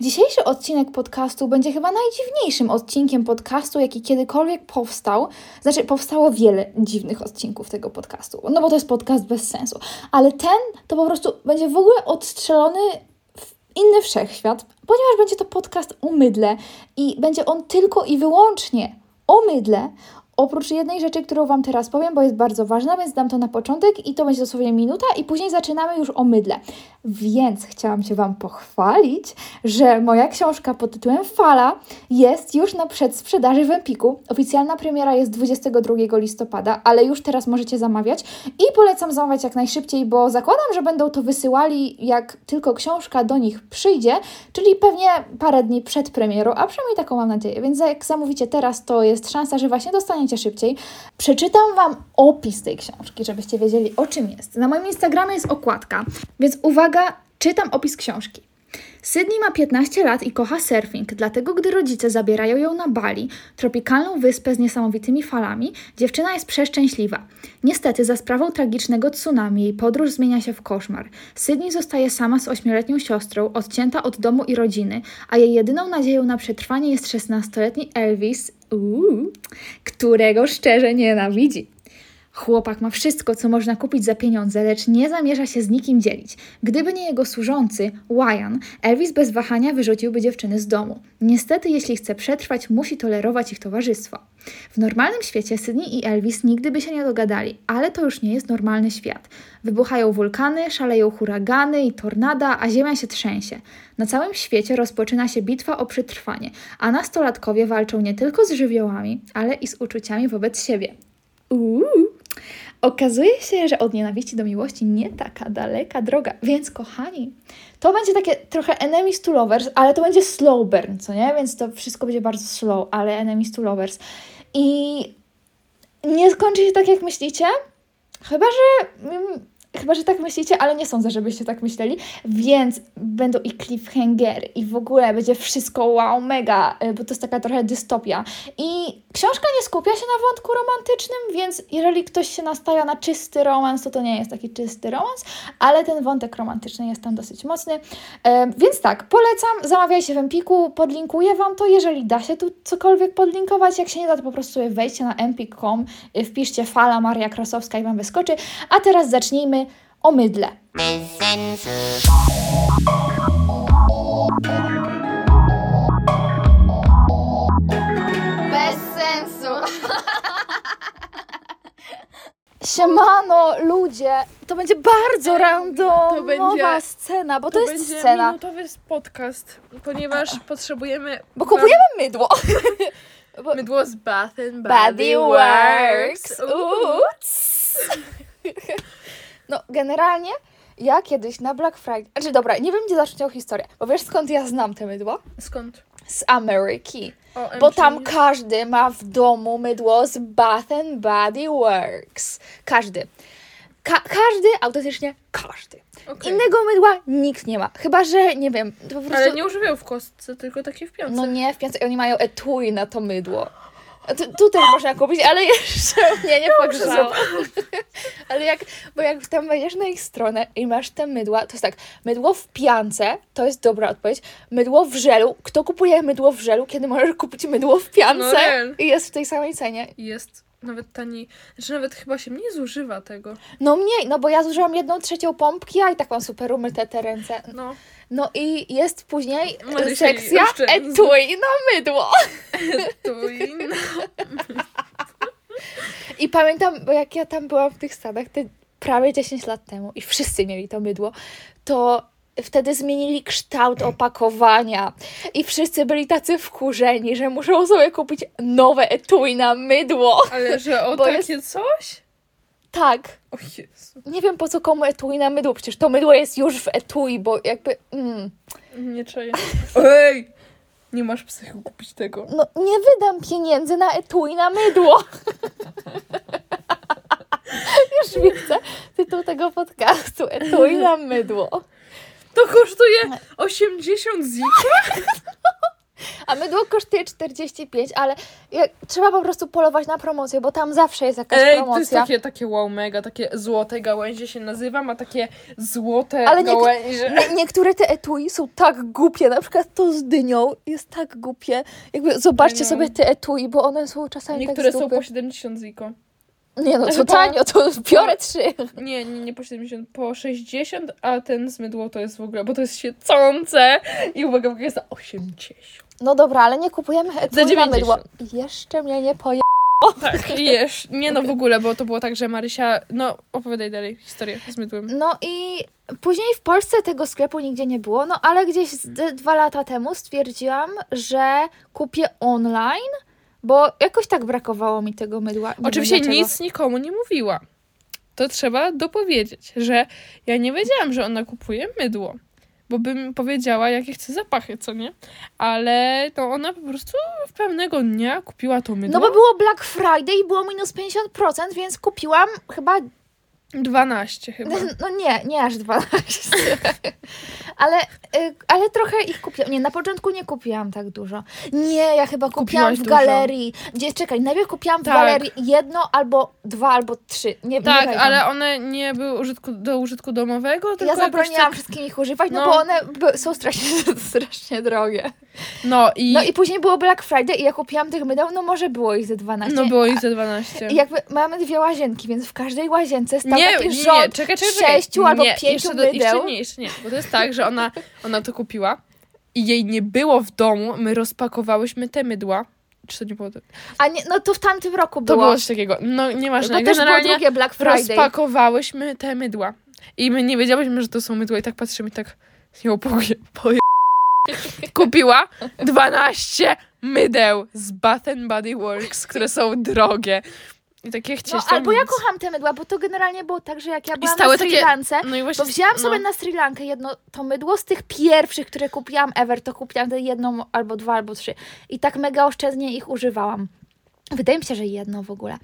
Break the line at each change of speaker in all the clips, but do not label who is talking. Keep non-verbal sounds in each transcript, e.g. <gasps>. Dzisiejszy odcinek podcastu będzie chyba najdziwniejszym odcinkiem podcastu, jaki kiedykolwiek powstał. Znaczy, powstało wiele dziwnych odcinków tego podcastu, no bo to jest podcast bez sensu. Ale ten to po prostu będzie w ogóle odstrzelony w inny wszechświat, ponieważ będzie to podcast o mydle i będzie on tylko i wyłącznie o mydle. Oprócz jednej rzeczy, którą Wam teraz powiem, bo jest bardzo ważna, więc dam to na początek i to będzie dosłownie minuta, i później zaczynamy już o mydle. Więc chciałam się Wam pochwalić, że moja książka pod tytułem Fala jest już na przedsprzedaży w Empiku. Oficjalna premiera jest 22 listopada, ale już teraz możecie zamawiać i polecam zamawiać jak najszybciej, bo zakładam, że będą to wysyłali jak tylko książka do nich przyjdzie, czyli pewnie parę dni przed premierą, a przynajmniej taką mam nadzieję. Więc jak zamówicie teraz, to jest szansa, że właśnie dostaniecie szybciej. Przeczytam Wam opis tej książki, żebyście wiedzieli o czym jest. Na moim Instagramie jest okładka, więc uwaga, czytam opis książki. Sydney ma 15 lat i kocha surfing, dlatego gdy rodzice zabierają ją na Bali, tropikalną wyspę z niesamowitymi falami, dziewczyna jest przeszczęśliwa. Niestety, za sprawą tragicznego tsunami jej podróż zmienia się w koszmar. Sydney zostaje sama z ośmioletnią siostrą, odcięta od domu i rodziny, a jej jedyną nadzieją na przetrwanie jest 16-letni Elvis, uuu, którego szczerze nienawidzi. Chłopak ma wszystko, co można kupić za pieniądze, lecz nie zamierza się z nikim dzielić. Gdyby nie jego służący, Wyan, Elvis bez wahania wyrzuciłby dziewczyny z domu. Niestety, jeśli chce przetrwać, musi tolerować ich towarzystwo. W normalnym świecie Sydney i Elvis nigdy by się nie dogadali, ale to już nie jest normalny świat. Wybuchają wulkany, szaleją huragany i tornada, a ziemia się trzęsie. Na całym świecie rozpoczyna się bitwa o przetrwanie, a nastolatkowie walczą nie tylko z żywiołami, ale i z uczuciami wobec siebie. Uuu. Okazuje się, że od nienawiści do miłości nie taka daleka droga. Więc kochani, to będzie takie trochę enemies to lovers, ale to będzie slow burn, co nie? Więc to wszystko będzie bardzo slow, ale enemies to lovers. I nie skończy się tak, jak myślicie. Chyba, że... mm, Chyba, że tak myślicie, ale nie sądzę, żebyście tak myśleli, więc będą i cliffhanger i w ogóle będzie wszystko wow, mega, y, bo to jest taka trochę dystopia. I książka nie skupia się na wątku romantycznym, więc jeżeli ktoś się nastawia na czysty romans, to to nie jest taki czysty romans, ale ten wątek romantyczny jest tam dosyć mocny. E, Więc tak, polecam, zamawiajcie w Empiku, podlinkuję Wam to, jeżeli da się tu cokolwiek podlinkować, jak się nie da, to po prostu sobie wejdźcie na empik.com, y, wpiszcie fala Maria Krosowska i Wam wyskoczy. A teraz zacznijmy o mydle.
Bez sensu!
<laughs> Siemano, ludzie! To będzie bardzo randomowa
To będzie-
scena, bo to,
To,
jest
będzie
scena.
minutowy podcast, ponieważ potrzebujemy
Bo kupujemy mydło. Bo-
mydło z Bath and
Body
Body
Works.
Works.
Uuu, cs. <laughs> No, generalnie ja kiedyś na Black Friday. Znaczy, dobra, nie wiem, gdzie zacząć tą historię. Bo wiesz, skąd ja znam te mydła?
Skąd?
Z Ameryki.
OMG.
Bo tam każdy ma w domu mydło z Bath and Body Works. Każdy. Ka- każdy, autentycznie każdy.
Okej.
Innego mydła nikt nie ma. Chyba, że nie wiem, to po prostu.
Ale nie używają w kostce, tylko takie w piątce.
No nie, w piątce oni mają etui na to mydło. A Tu, tu też można kupić, ale <laughs> jeszcze mnie nie
No,
pogrzało. Ale jak, bo jak tam wejdziesz na ich stronę i masz te mydła, to jest tak, mydło w piance, to jest dobra odpowiedź, mydło w żelu, kto kupuje mydło w żelu, kiedy możesz kupić mydło w
No
piance
real.
i jest w tej samej cenie?
Jest nawet taniej. Znaczy nawet chyba się mniej zużywa tego.
No mniej, no bo ja zużyłam jedną trzecią pompki, a i tak mam super umyte te ręce.
No.
No i jest później
Marysia No i
sekcja
oszczędz.
etui na mydło. <laughs>
To inna.
I pamiętam, bo jak ja tam byłam w tych Stanach te prawie 10 lat temu i wszyscy mieli to mydło, to wtedy zmienili kształt opakowania i wszyscy byli tacy wkurzeni, że muszą sobie kupić nowe etui na mydło.
Ale że o
Bo
takie coś?
Tak.
O Jezu.
Nie wiem po co komu etui na mydło, przecież to mydło jest już w etui, bo jakby... Mm,
Nie
<laughs>
czuję. Ej! Nie masz psychu kupić tego.
no nie wydam pieniędzy na etui na mydło. <laughs> już widzę tytuł tego podcastu. Etui na mydło.
To kosztuje 80 zik.
A mydło kosztuje 45, ale jak, trzeba po prostu polować na promocję, bo tam zawsze jest jakaś
Ej, to jest
promocja.
takie, takie wow mega, takie złote gałęzie się nazywa, ma takie złote
Ale nie-
gałęzie.
Nie, niektóre te etui są tak głupie, na przykład to z dynią jest tak głupie. Jakby zobaczcie
No.
sobie te etui, bo one są czasami
Niektóre
<laughs> tak z
są
dupy.
po 70 ziko.
Nie
<laughs>
no, co
Chyba-
tanio, to biorę trzy.
Nie, nie, nie po 70, po 60, a ten z mydło to jest w ogóle, bo to jest siecące i uwaga, w ogóle jest za 80.
No dobra, ale nie kupujemy
Za
etui na mydło.
90.
Jeszcze mnie nie poje...
Tak, jesz. Nie no, w ogóle, bo to było tak, że Marysia, no opowiadaj dalej historię z mydłem.
No i później w Polsce tego sklepu nigdzie nie było, no ale gdzieś z d- dwa lata temu stwierdziłam, że kupię online, bo jakoś tak brakowało mi tego mydła. nie wiem
Oczywiście
dlaczego.
nic nikomu nie mówiła. To trzeba dopowiedzieć, że ja nie wiedziałam, że ona kupuje mydło, bo bym powiedziała, jakie chce zapachy, co nie? Ale to ona po prostu w pewnego dnia kupiła to mydło.
No bo było Black Friday i było minus 50%, więc kupiłam chyba, <laughs>
12 chyba.
no <laughs> nie, nie aż 12. <laughs> ale, y, ale trochę ich kupiłam. Nie, na początku nie kupiłam tak dużo. Nie, ja chyba kupiłam
Kupiłaś
w
dużo.
galerii. Gdzie, czekaj, najpierw kupiłam w
Tak.
galerii jedno albo dwa albo trzy. Nie, nie
Tak,
pamiętam.
ale one nie były użytku, do użytku domowego, tylko
Ja zabroniłam
jakoś tak-
wszystkim ich używać, no,
No.
bo one by, są strasznie, <laughs> strasznie drogie.
tak... No i,
No i później było Black Friday i ja kupiłam tych mydeł, no może było ich ze 12.
no było ich ze 12.
I jakby mamy dwie łazienki, więc w każdej łazience stał
nie,
taki
nie,
rząd
nie, czekaj, czekaj, czekaj.
sześciu albo
nie,
pięciu
jeszcze, do-
mydeł.
Jeszcze nie, jeszcze nie, bo to jest tak, że ona, ona to kupiła i jej nie było w domu, my rozpakowałyśmy te mydła. Czy to nie było? To,
A nie, no to w tamtym roku
to
było.
było coś takiego. No nieważne,
bo też było
generalnie
drugie Black Friday.
rozpakowałyśmy te mydła i my nie wiedziałyśmy, że to są mydła i tak patrzymy i tak, nie opowie, poje... <laughs> Kupiła 12 mydeł z Bath and Body Works, które są drogie. I tak takie
no
chcieliśmy
albo ja kocham te mydła, bo to generalnie było tak, że jak ja byłam
stały
na Sri
takie-
Lance,
No i właśnie...
to wzięłam
no.
sobie na Sri Lankę jedno to mydło z tych pierwszych, które kupiłam ever, to kupiłam te jedną albo dwa albo trzy. I tak mega oszczędnie ich używałam. Wydaje mi się, że jedno w ogóle.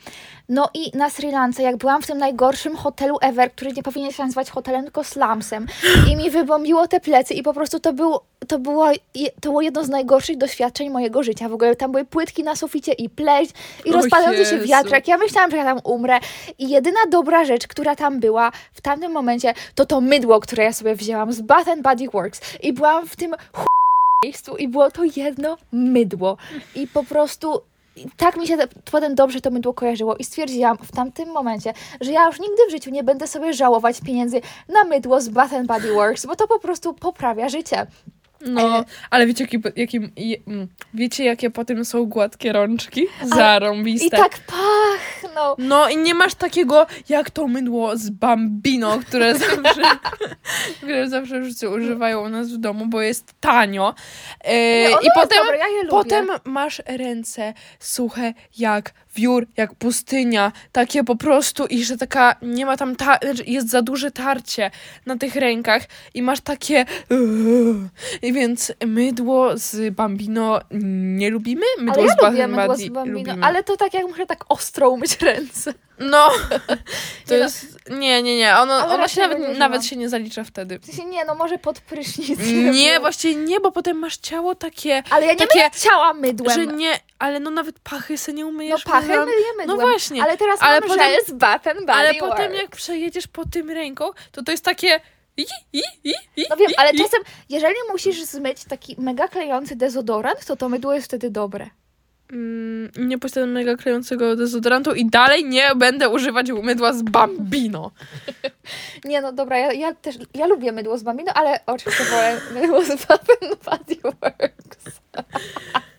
No i na Sri Lance, jak byłam w tym najgorszym hotelu ever, który nie powinien się nazywać hotelem, tylko slumsem, i mi wybombiło te plecy i po prostu to, był, to, było, je- to było jedno z najgorszych doświadczeń mojego życia. W ogóle tam były płytki na suficie i pleść i
O
rozpadający się
Jezu.
wiatrak. Ja myślałam, że ja tam umrę i jedyna dobra rzecz, która tam była w tamtym momencie, to to mydło, które ja sobie wzięłam z Bath and Body Works i byłam w tym ch- miejscu i było to jedno mydło i po prostu i tak mi się te- potem dobrze to mydło kojarzyło i stwierdziłam w tamtym momencie, że ja już nigdy w życiu nie będę sobie żałować pieniędzy na mydło z Bath and Body Works, bo to po prostu poprawia życie.
No, ale wiecie, jaki, jakim, je- mm, wiecie jakie potem są gładkie rączki? Zarąbiste.
I tak pachną.
No i nie masz takiego jak to mydło z Bambino, które
<laughs>
zawsze, które zawsze wszyscy używają u nas w domu, bo jest tanio. E,
Nie, ono
I
jest
potem,
dobre, ja je lubię.
potem masz ręce suche jak wiór, jak pustynia. Takie po prostu i że taka nie ma tam, ta, znaczy jest za duże tarcie na tych rękach i masz takie i więc mydło z Bambino nie lubimy, mydło
Ale ja
z Bath
lubię
and
mydło z
Body
bambino,
lubimy.
ale to tak jak muszę tak ostro umyć ręce. <laughs>
No, to
Nie no.
jest. Nie, nie, nie. Ono,
Ale
ono
raczej
się nawet,
będzie no.
nawet
żyła.
się nie zalicza
<laughs>
wtedy.
W sensie nie, no może pod prysznic.
Nie, właśnie nie, bo potem masz ciało takie,
Ale ja nie
takie-
myję ciała mydłem.
że nie, ale no nawet pachy se nie
no
umyjesz.
pachy
mydłem.
myję mydłem.
No właśnie.
Ale teraz
Ale
mam
potem-
żel z Bath and Body
ale
Works.
potem jak przejedziesz po tym ręką, to to jest takie. I, i, i, i,
No wiem,
i,
ale
i.
czasem, jeżeli musisz zmyć taki mega klejący dezodorant, to to mydło jest wtedy dobre.
Mm, nie posiadam mega klejącego dezodorantu i dalej nie będę używać mydła z Bambino.
Nie no, dobra, ja, ja też, ja lubię mydło z Bambino, ale oczywiście wolę mydło z Bath and Body Works.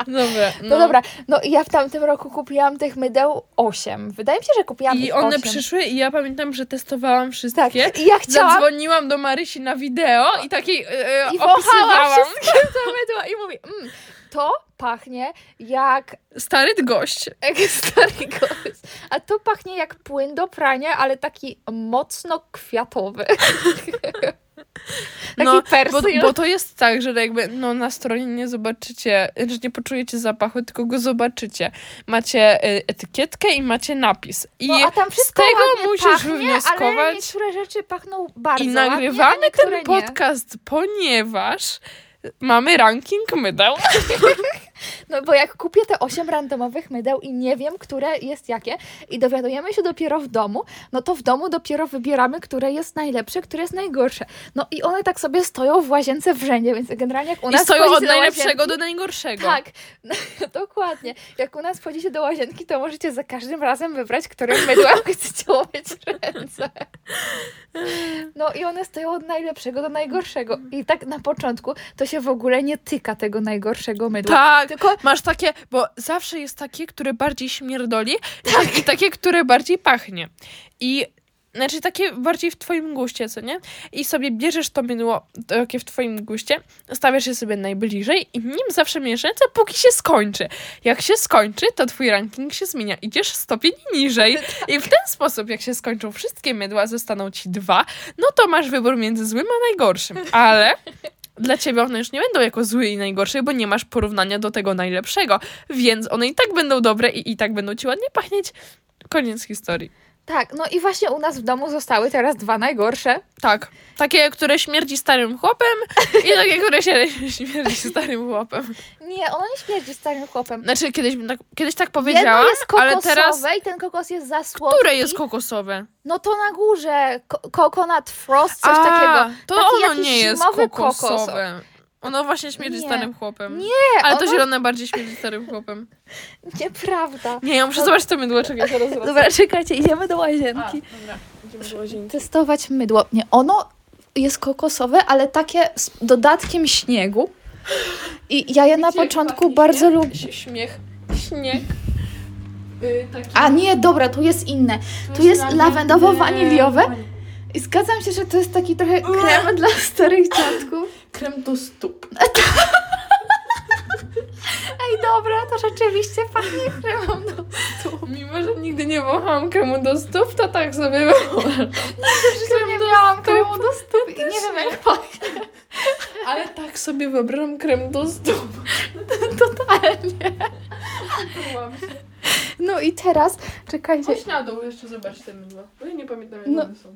Dobra.
No, dobra, no i ja w tamtym roku kupiłam tych mydeł 8. Wydaje mi się, że kupiłam
I
ich
one
8.
przyszły i ja pamiętam, że testowałam
Tak,
wszystkie.
i ja chciałam
Zadzwoniłam do Marysi na wideo i takiej e,
I
I
wąchała
opisywałam.
to mydło i mówię, mm, to pachnie jak,
Stary gość.
jak stary gość, a to pachnie jak płyn do prania, ale taki mocno
<laughs>
kwiatowy. Taki
No, Bo,
persil.
bo to jest tak, że jakby no, na stronie nie zobaczycie, że nie poczujecie zapachu, tylko go zobaczycie. Macie e, etykietkę i macie napis. I
no, a tam
z
wszystko
tego
ładnie
musisz
pachnie, ale
wywnioskować.
niektóre rzeczy pachną bardzo
I
ładnie, a
nagrywamy
niektóre
ten
nie.
podcast, ponieważ mamy ranking mydeł.
No bo jak kupię te osiem randomowych mydeł i nie wiem, które jest jakie i dowiadujemy się dopiero w domu, no to w domu dopiero wybieramy, które jest najlepsze, które jest najgorsze. No i one tak sobie stoją w łazience w rzędzie, więc generalnie jak u
I
nas
stoją
wchodzi
od
do
najlepszego
łazienki-
do najgorszego.
Tak, <laughs> no, dokładnie. Jak u nas wchodzicie do łazienki, to możecie za każdym razem wybrać, którym
<laughs>
mydłem chcecie umyć ręce. No i one stoją od najlepszego do najgorszego. I tak na początku to się w ogóle nie tyka tego najgorszego mydła.
Tak,
Tylko
masz takie, bo zawsze jest takie, które bardziej śmierdoli i <laughs> takie, które bardziej pachnie. I znaczy takie bardziej w twoim guście, co nie? I sobie bierzesz to mydło, takie w twoim guście, stawiasz je sobie najbliżej i nim zawsze myjesz ręce, póki się skończy. Jak się skończy, to twój ranking się zmienia. Idziesz stopień niżej i w ten sposób, jak się skończą wszystkie mydła, zostaną ci dwa, no to masz wybór między złym a najgorszym. Ale dla ciebie one już nie będą jako zły i najgorsze, bo nie masz porównania do tego najlepszego, więc one i tak będą dobre i i tak będą ci ładnie pachnieć. Koniec historii.
tak, no i właśnie u nas w domu zostały teraz dwa najgorsze.
Tak. Takie, które śmierdzi starym chłopem i takie, które się <laughs> śmierdzi starym chłopem.
Nie, ono nie śmierdzi starym chłopem.
Znaczy, kiedyś, bym tak, kiedyś tak
Jedno
powiedziałam,
jest kokosowe
ale teraz...
i ten kokos jest za słodki.
Które jest kokosowe?
No to na górze, ko- coconut frost, coś
A,
takiego.
To
Taki
ono
jakiś
nie jest
zimowy kokos.
kokosowe. Ono właśnie śmierdzi
Nie.
starym chłopem.
Nie,
Ale to
ono-
zielone bardziej śmierdzi starym chłopem.
Nieprawda.
Nie, ja muszę zobaczyć to mydło, czekaj, zaraz wracam.
No. Dobra, czekajcie, idziemy do łazienki.
dobra. Idziemy do łazienki.
Testować mydło. Nie, ono jest kokosowe, ale takie z dodatkiem śniegu. I ja je na
Wiecie, jak
początku
pachnie
bardzo
śnieg?
lubię.
Ś- Śmiech. Śnieg. Y, taki-
A nie, dobra, tu jest inne. tu jest lawendowo-waniliowe. I zgadzam się, że to jest taki trochę krem dla starych dziadków. Tak.
Krem do
<laughs>
stóp.
Ej, dobra, to rzeczywiście pachnie kremem. No,
Mimo, że nigdy nie wąchałam kremu do stóp, to tak sobie wyobrażam.
krem nie miałam kremu do stóp i nie wiem jak pachnie
Ale tak sobie wyobrażam krem do stóp.
<laughs> totalnie. No i teraz, czekajcie,
Chodź na dół, jeszcze zobacz te mydła. Bo ja nie pamiętam, jak
No.
one są.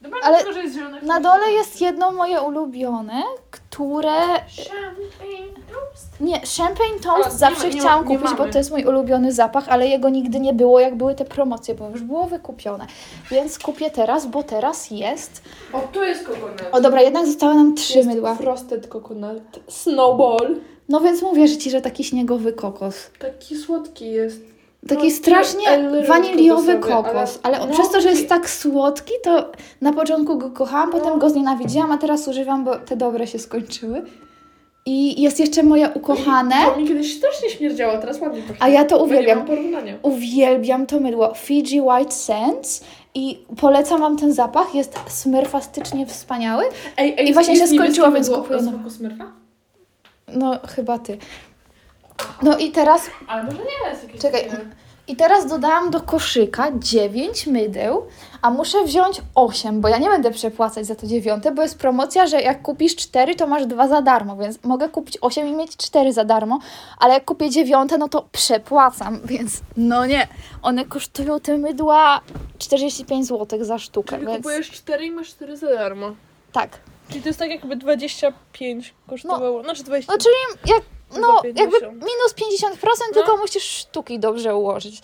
Dobra,
Ale
tylko, że jest zielone.
Na dole jest jedno moje ulubione, które.
Champagne toast.
Nie, champagne
A,
toast
nie
zawsze
ma- nie ma-
chciałam
nie
kupić, bo
mamy.
to jest mój ulubiony zapach, ale jego nigdy nie było, jak były te promocje, bo już było wykupione. Więc kupię teraz, bo teraz jest.
O, tu jest kokonat.
O dobra, jednak zostały nam trzy
Jest
mydła.
Frosted coconut. Snowball.
No więc mówię ci, że taki śniegowy kokos.
Taki słodki jest.
Taki
No,
strasznie
ale
waniliowy
kokosowy,
kokos, ale
ale-
on,
no,
przez to, że
i-
jest tak słodki, to na początku go kochałam, potem
No.
go znienawidziłam, a teraz używam, bo te dobre się skończyły. I jest jeszcze moje ukochane.
To mi kiedyś też nie śmierdziało, teraz ładnie pachnie.
E? A ja to
Bo Nie
uwielbiam.
mam porównania.
Uwielbiam to mydło Fiji White Sands i polecam Wam ten zapach. Jest smurfastycznie wspaniały.
Ej,
I właśnie
jest
się skończyło,
niebieskie
więc
mydło
kupuję
o
nowe.
smaku smurfa?
No, chyba Ty. No i teraz,
Ale może nie jest jakieś
Czekaj.
takie-
i teraz dodałam do koszyka 9 mydeł, a muszę wziąć 8, bo ja nie będę przepłacać za to dziewiąte, bo jest promocja, że jak kupisz 4, to masz 2 za darmo, więc mogę kupić 8 i mieć 4 za darmo, ale jak kupię dziewiąte, no to przepłacam, <laughs> więc no nie. One kosztują te mydła 45 zł za sztukę,
Czyli
więc
kupujesz 4 i masz 4 za darmo.
tak.
Czyli to jest tak jakby 25 kosztowało. Znaczy 20.
No, czyli jak, no,
Za 50.
jakby minus 50%, tylko
No.
musisz sztuki dobrze
<gasps>
ułożyć.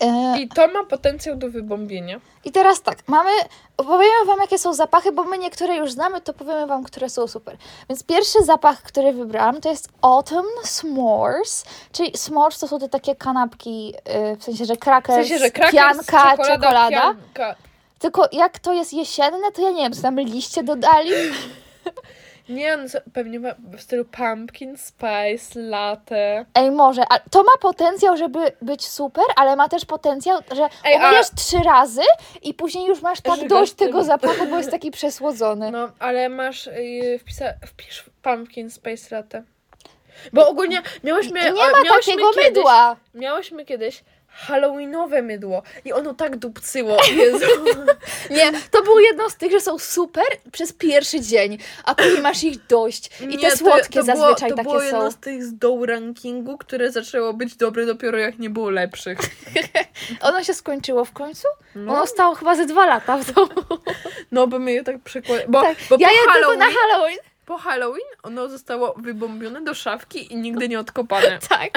E,
I to ma potencjał do wybombienia.
I teraz tak, mamy, opowiemy Wam, jakie są zapachy, bo my niektóre już znamy, to powiemy Wam, które są super. Więc pierwszy zapach, który wybrałam, to jest Autumn S'mores, czyli s'mores to są te takie kanapki, e, w sensie, że
W
crackers,
sensie, że krakers,
pianka,
czekolada,
czekolada.
pianka.
Tylko jak to jest jesienne, to ja nie wiem, czy tam liście dodali?
Nie, no, co- pewnie ma w stylu pumpkin spice, latte.
Ej, może. A to ma potencjał, żeby być super, ale ma też potencjał, że
Ej, a-
umyjesz trzy razy i później już masz tak
Żygasz
dość
tym.
tego zapachu, bo jest taki przesłodzony.
No, ale masz, yy, wpisa, wpisz pumpkin spice latte. Bo ogólnie miałyśmy,
I nie
o,
ma
miałyśmy
takiego
kiedyś,
mydła.
Miałyśmy kiedyś Halloweenowe mydło i ono
<laughs>
tak dupcyło. Jezu.
Nie, to było jedno z tych, że są super przez pierwszy dzień, a później masz ich dość. I
Nie,
te słodkie
to, to
zazwyczaj
było, to
takie
było
są.
jedno z tych z dołu rankingu, które zaczęło być dobre dopiero jak nie było lepszych.
Ono się skończyło w końcu?
No,
Ono stało chyba ze dwa lata w domu.
no bo my je tak przekładamy. Bo,
tak.
bo
ja
po
je tylko
Halloween,
na Halloween.
po Halloween ono zostało wybombione do szafki i nigdy nie odkopane.
<laughs> Tak.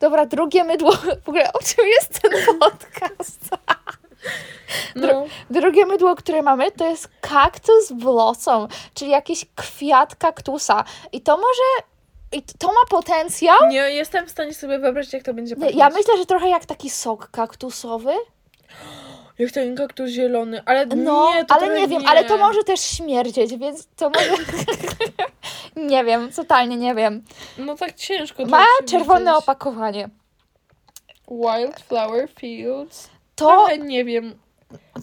Dobra, drugie mydło. W ogóle o czym jest ten podcast?
No.
Drugie mydło, które mamy, to jest kaktus blossom, czyli jakiś kwiat kaktusa. I to może... I to ma potencjał?
Nie jestem w stanie sobie wyobrazić, jak to będzie
Ja,
pachnieć.
ja myślę, że trochę jak taki sok kaktusowy.
Jak ten kaktus zielony, ale
No,
nie, to
ale
trochę
nie wiem, ale to może też śmierdzieć, więc to może... <laughs> nie wiem, totalnie nie wiem.
No tak ciężko.
Ma
trochę się
czerwone
widzieć.
opakowanie.
Wildflower Fields.
To
Trochę nie wiem.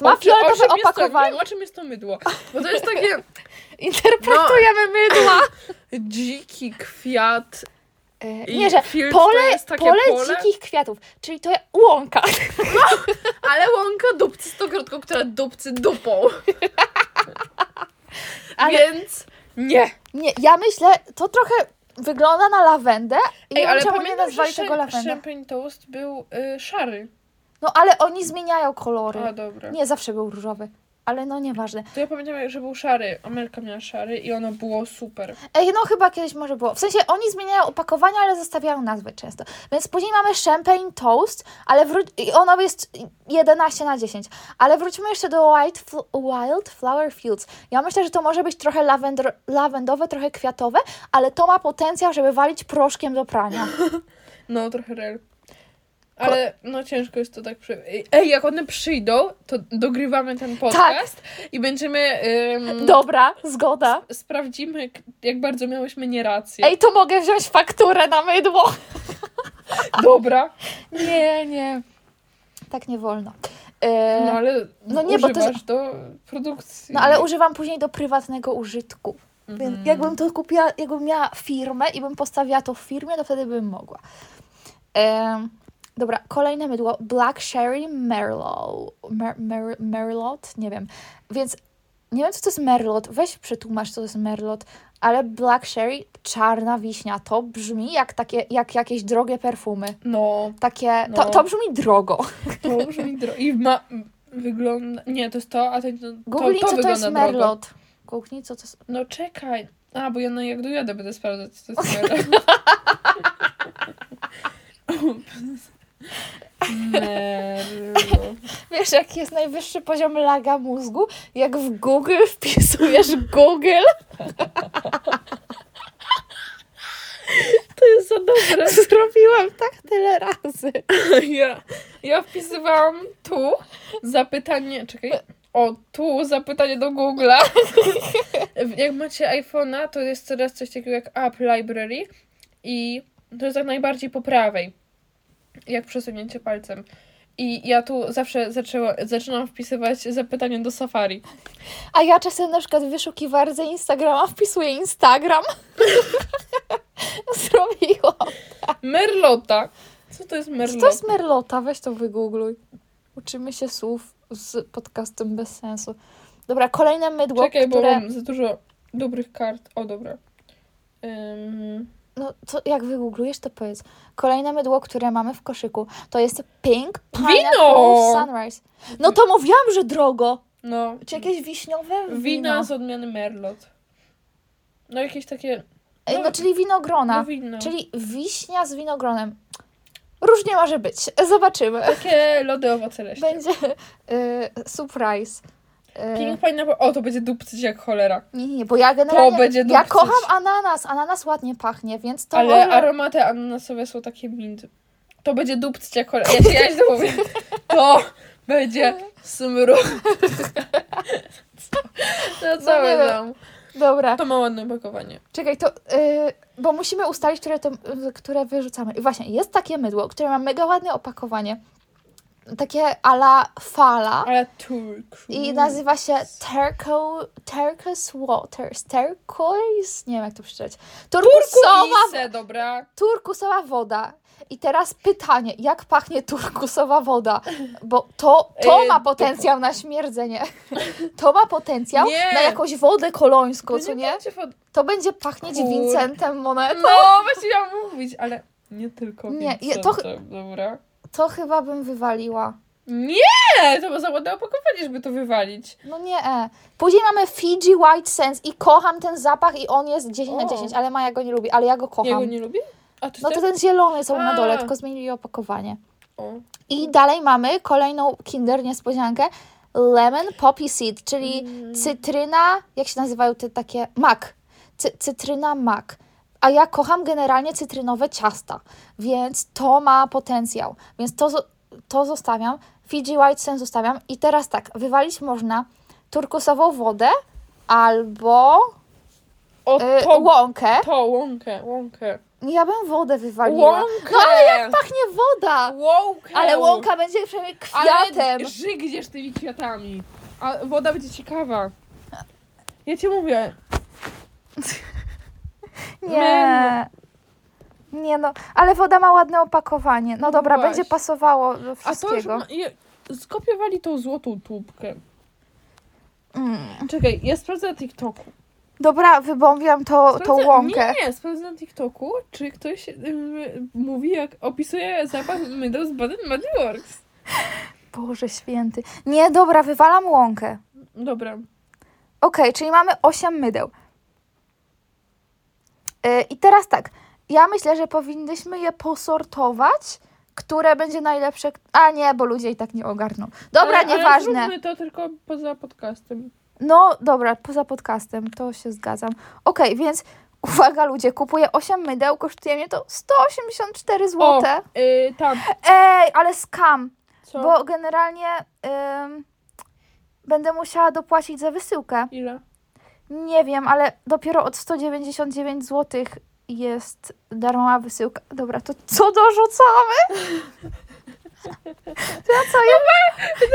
ma
O czym- o
fioletowe
czym jest to-
opakowanie.
Wiem, o czym jest to mydło. Bo to jest
<laughs>
takie no,
Interpretujemy mydła.
dziki kwiat.
E,
No, I
nie, że
fields
pole,
to jest takie
pole,
pole?
dzikich kwiatów, czyli to łąka. <laughs>
Ale łąka dupcy stokrotką, która dupcy dupą.
Ale-
Więc nie.
Nie, ja myślę, to trochę wygląda na lawendę i
Ej,
ja
ale
ale czemu nie
pamiętam, że
nazwali tego
szem-
lawendą.
Champagne Toast był y, szary.
No ale oni zmieniają kolory.
A, dobra.
Nie, zawsze był różowy. Ale no nieważne.
To ja pamiętam, że był szary. Amelka miała szary i ono było super.
Ej, no chyba kiedyś może było. W sensie oni zmieniają opakowania, ale zostawiają nazwy często. Więc później mamy Champagne Toast, ale wró- i ono jest 11 na 10. Ale wróćmy jeszcze do White Fl- Wild Flower Fields. Ja myślę, że to może być trochę lawendr- lawendowe, trochę kwiatowe, ale to ma potencjał, żeby walić proszkiem do <laughs> prania.
No, trochę real. Ale no ciężko jest to tak przy... Ej, jak one przyjdą, to dogrywamy ten podcast i będziemy... Ym,
Tak. Mm. Dobra, zgoda.
Sprawdzimy, k- jak bardzo miałyśmy nierację.
Ej, to mogę wziąć fakturę na mydło.
Dobra.
Nie, nie. Tak nie wolno. E,
No ale
No nie, bo to-
używasz do produkcji.
No ale używam później do prywatnego użytku.
Mhm.
Więc jakbym to kupiła, jakbym miała firmę i bym postawiła to w firmie, to wtedy bym mogła. Em, dobra, kolejne mydło. Black Sherry Merlot. Mer, mer, merlot? Nie wiem. Więc nie wiem, co to jest Merlot. Weź przetłumacz, co to jest Merlot. Ale Black Sherry, czarna wiśnia, to brzmi jak, takie, jak jakieś drogie perfumy.
No,
Takie,
No.
to, to brzmi drogo.
to brzmi dro... I ma... Wygląda... Nie, to jest to, a ten... To,
Googlij,
to,
co to
wygląda
jest
drogo.
Merlot. Googlij, co to jest...
No czekaj. A, bo ja no jak dojadę będę sprawdzać, co to jest Merlot. Merlot.
Wiesz, jaki jest najwyższy poziom laga mózgu? Jak w Google <laughs> wpisujesz Google.
To jest za dobre.
<laughs> Zrobiłam tak tyle razy.
<laughs> Ja, ja wpisywałam tu zapytanie, czekaj, o tu zapytanie do Google'a.
<laughs>
Jak macie iPhone'a, to jest teraz coś takiego jak App Library i to jest tak najbardziej po prawej, jak przesunięcie palcem. I ja tu zawsze zaczęła, zaczynam wpisywać zapytanie do Safari.
A ja czasem na przykład w wyszukiwarce Instagrama wpisuję Instagram. <laughs> Zrobiłam.
Merlota. Co to jest
Co
Merlota?
to jest merlota? Weź to wygoogluj. Uczymy się słów z podcastem bez sensu. Dobra, kolejne mydło,
Czekaj, bo
które...
mam za dużo dobrych kart. O, dobra. Ym,
No, co, jak wygooglujesz, to powiedz. Kolejne mydło, które mamy w koszyku, to jest Pink Pineapple
Wino!
Sunrise. No to mówiłam, że drogo.
no.
Czy jakieś wiśniowe wino?
Wina z odmiany Merlot. No jakieś takie.
Ej,
no,
No, czyli winogrona.
no, wino.
Czyli wiśnia z winogronem. Różnie może być. <laughs> Zobaczymy.
Takie lody owoce leśne.
Będzie y, surprise. Y,
Pink Pineapple. O, to będzie dupcyć jak cholera.
nie, nie, bo ja generalnie...
będzie
ja
dupcyć.
kocham ananas. Ananas ładnie pachnie, więc to
Ale
może...
aromaty ananasowe są takie mint. To będzie dupcyć jak
<laughs>
cholera. Ja ci ja źle mówię. To będzie smru. <laughs> To co
nie wiem.
tam?
Dobra,
To ma ładne opakowanie.
czekaj, to... y, bo musimy ustalić, które, to, które wyrzucamy. I właśnie, jest takie mydło, które ma mega ładne opakowanie. Takie ala fala.
Ale turk.
I nazywa się Turco, Turquoise Waters. Turquoise? Nie wiem, jak to przeczytać. Turkusowa,
Kurkulice, dobra.
turkusowa woda. I teraz pytanie, jak pachnie turkusowa woda? Bo to, to
E,
ma
to-
potencjał na śmierdzenie. <laughs> To ma potencjał
Nie.
na jakąś wodę kolońską,
To
co nie?
będzie wod-
To będzie pachnieć
Kur-
Vincentem Monetą.
No, właśnie miałam mówić, ale nie tylko
Nie,
nie,
je-
to... dobra.
To chyba bym wywaliła.
Nie! To było za ładne opakowanie, żeby to wywalić.
No nie. e. Później mamy Fiji White Sands i kocham ten zapach i on jest 10 na
O.
10, ale Maja go nie lubi, ale ja go kocham.
Ja go nie lubię? A ty
No to
też?
ten zielony są na dole,
A.
tylko zmienili opakowanie.
tak- O.
I dalej mamy kolejną Kinder niespodziankę. Lemon Poppy Seed, czyli cytryna, jak się nazywają te takie, mak. Cy, cytryna mak. A ja kocham generalnie cytrynowe ciasta, więc to ma potencjał. Więc to, zo- to zostawiam, Fiji White Sen zostawiam. I teraz tak, wywalić można turkusową wodę albo
O,
y,
to,
łąkę.
to, łąkę, łąkę.
Ja bym wodę wywaliła.
Łąkę!
No ale jak pachnie woda!
Łąkę!
Ale łąka będzie przynajmniej kwiatem.
Ale żygniesz tymi kwiatami. A woda będzie ciekawa. Ja ci mówię.
Nie. Nie no, ale woda ma ładne opakowanie. No
No
dobra,
właśnie.
będzie pasowało do
A to już
wszystkiego.
ma, je, skopiowali tą złotą tubkę.
Mm.
Czekaj, ja sprawdzę na TikToku.
Dobra, wybąbiam to, tą
Sprawdzę-
łąkę.
Nie, nie, sprawdzę na TikToku, czy ktoś ym, mówi, jak opisuje zapach mydła z Baden Works.
Boże święty. Nie, dobra, wywalam łąkę.
Dobra.
Okej, czyli mamy 8 mydeł. Yy, I teraz tak, ja myślę, że powinnyśmy je posortować, które będzie najlepsze. A nie, bo ludzie i tak nie ogarną. Dobra,
ale,
nieważne.
Ale zróbmy to tylko poza podcastem.
No dobra, poza podcastem, to się zgadzam. Okej, więc uwaga ludzie, kupuję 8 mydeł, kosztuje mnie to 184 zł.
O, y, tam,
Ej, ale skam,
co?
bo generalnie ym, będę musiała dopłacić za wysyłkę.
Ile?
Nie wiem, ale dopiero od 199 zł jest darmowa wysyłka. Dobra, to co dorzucamy? To ja co? Ja...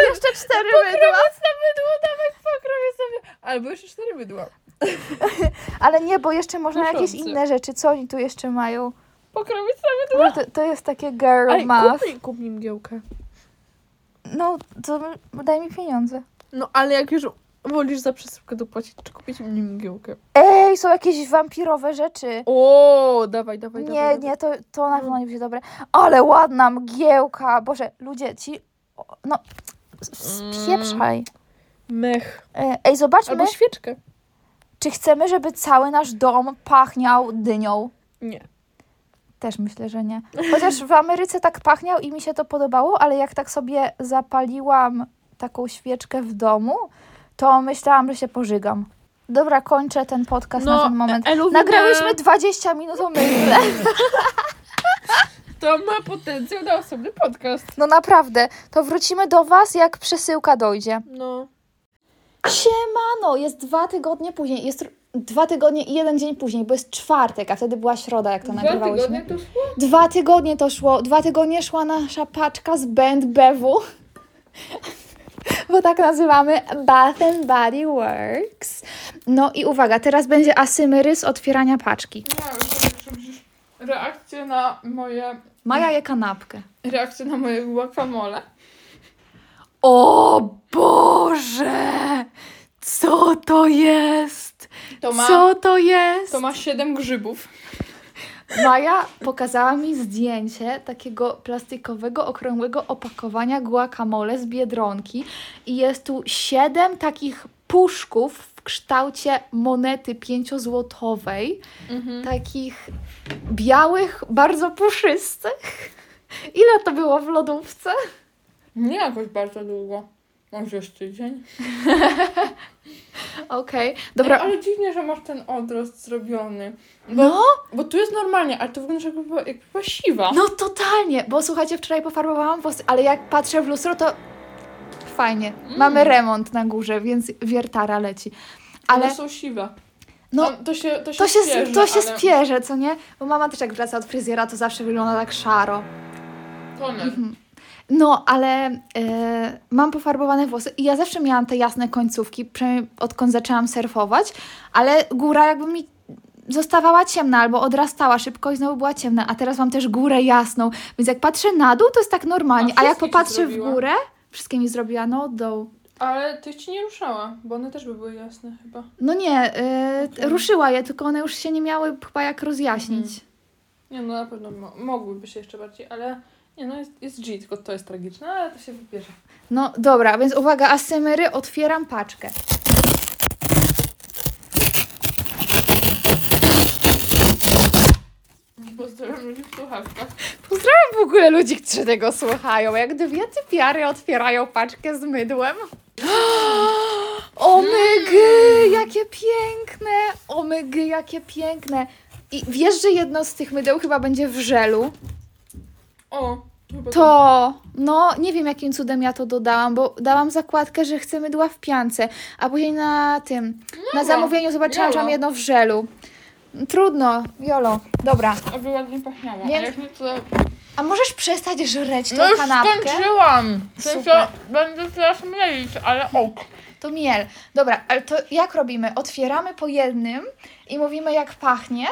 Jeszcze cztery mydła.
na mydło, dawaj pokrowię sobie. Albo jeszcze cztery mydła.
Ale nie, bo jeszcze można jakieś
Kuszące.
inne rzeczy. Co oni tu jeszcze mają?
Pokrowię sobie
Może to, to jest takie girl
Ale
math.
kup mi, kup mi mgiełkę.
No, to daj mi pieniądze.
No ale jak już wolisz za przesyłkę dopłacić, czy kupić mi mgiełkę?
Ej, są jakieś wampirowe rzeczy.
O, dawaj, dawaj,
Nie,
dawaj.
nie, to, to na
Mm.
pewno nie będzie dobre. Ale ładna mgiełka. Boże, ludzie, ci... o, No, s- spieprzaj.
Mech.
E, Ej, zobaczmy,
Mm. Albo świeczkę.
czy chcemy, żeby cały nasz dom pachniał dynią.
Nie.
Też myślę, że nie. Chociaż w Ameryce tak pachniał i mi się to podobało, ale jak tak sobie zapaliłam taką świeczkę w domu, to myślałam, że się pożygam. Dobra, kończę ten podcast
No,
na ten moment.
Elu,
Nagrałyśmy 20 minut o myśle.
To ma potencjał na osobny podcast.
No naprawdę, to wrócimy do Was, jak przesyłka dojdzie.
No.
Siemano, jest dwa tygodnie później, jest r- dwa tygodnie i jeden dzień później, bo jest czwartek, a wtedy była środa, jak to nagrywałyśmy.
to szło?
Dwa tygodnie to szło. Dwa tygodnie szła nasza paczka z Band Bewu. Bo tak nazywamy Bath and Body Works. No i uwaga, teraz będzie asymery z otwierania paczki.
Nie, już reakcję na moje,
Maja je kanapkę.
reakcję na moje guacamole.
O Boże! Co to jest?
To ma,
Co to jest?
to ma siedem grzybów.
Maja pokazała mi zdjęcie takiego plastikowego, okrągłego opakowania guacamole z Biedronki i jest tu siedem takich puszków w kształcie monety pięciozłotowej, takich białych, bardzo puszystych. Ile to było w lodówce?
Nie jakoś bardzo długo. Może już tydzień.
Okej, dobra.
Ej, ale dziwnie, że masz ten odrost zrobiony. Bo,
No,
bo tu jest normalnie, ale tu wygląda jakby była, jakby była siwa.
no totalnie, bo słuchajcie, wczoraj pofarbowałam włosy, ale jak patrzę w lustro, to fajnie. Mamy remont na górze, więc wiertara leci. Ale
One są siwe.
No,
No, to się, to się,
To się,
spierze,
to się
ale
spierze, co nie? Bo mama też jak wraca od fryzjera, to zawsze wygląda tak szaro.
toner.
No, ale e, mam pofarbowane włosy i ja zawsze miałam te jasne końcówki, przynajmniej odkąd zaczęłam surfować, ale góra jakby mi zostawała ciemna albo odrastała szybko i znowu była ciemna, a teraz mam też górę jasną, więc jak patrzę na dół, to jest tak normalnie,
A
a, jak
wszystkie ci
popatrzę w
zrobiła?
górę, wszystkie mi zrobiła, no doł.
Ale tych ci nie ruszała, bo one też by były jasne chyba.
No nie, e,
Okej. Mhm.
ruszyła je, tylko one już się nie miały chyba jak rozjaśnić.
Nie no, na pewno mo- mogłyby się jeszcze bardziej, ale Nie no, jest, jest G, tylko to jest tragiczne, ale to się wybierze.
No dobra, więc uwaga, asymery, otwieram paczkę.
Pozdrawiam ludzi w słuchawkach.
Pozdrawiam w ogóle ludzi, którzy tego słuchają. Jak dwie typiary otwierają paczkę z mydłem. <gasps> Omygy, jakie piękne! Omygy, jakie piękne! I wiesz, że jedno z tych mydeł chyba będzie w żelu.
O! chyba
To, no nie wiem jakim cudem ja to dodałam, bo dałam zakładkę, że chcę mydła w piance, a później na tym, na
Miała,
zamówieniu zobaczyłam, że mam
miała.
jedno w żelu. Trudno, Jolo, dobra.
tak, Aby ładnie pachniało.
Więc-
A jak nie to...
A możesz przestać żreć tą
No już
kanapkę?
skończyłam! W sensie
Super.
będę teraz mylić, ale ok.
To miel. Dobra, ale to jak robimy? Otwieramy po jednym i mówimy jak pachnie?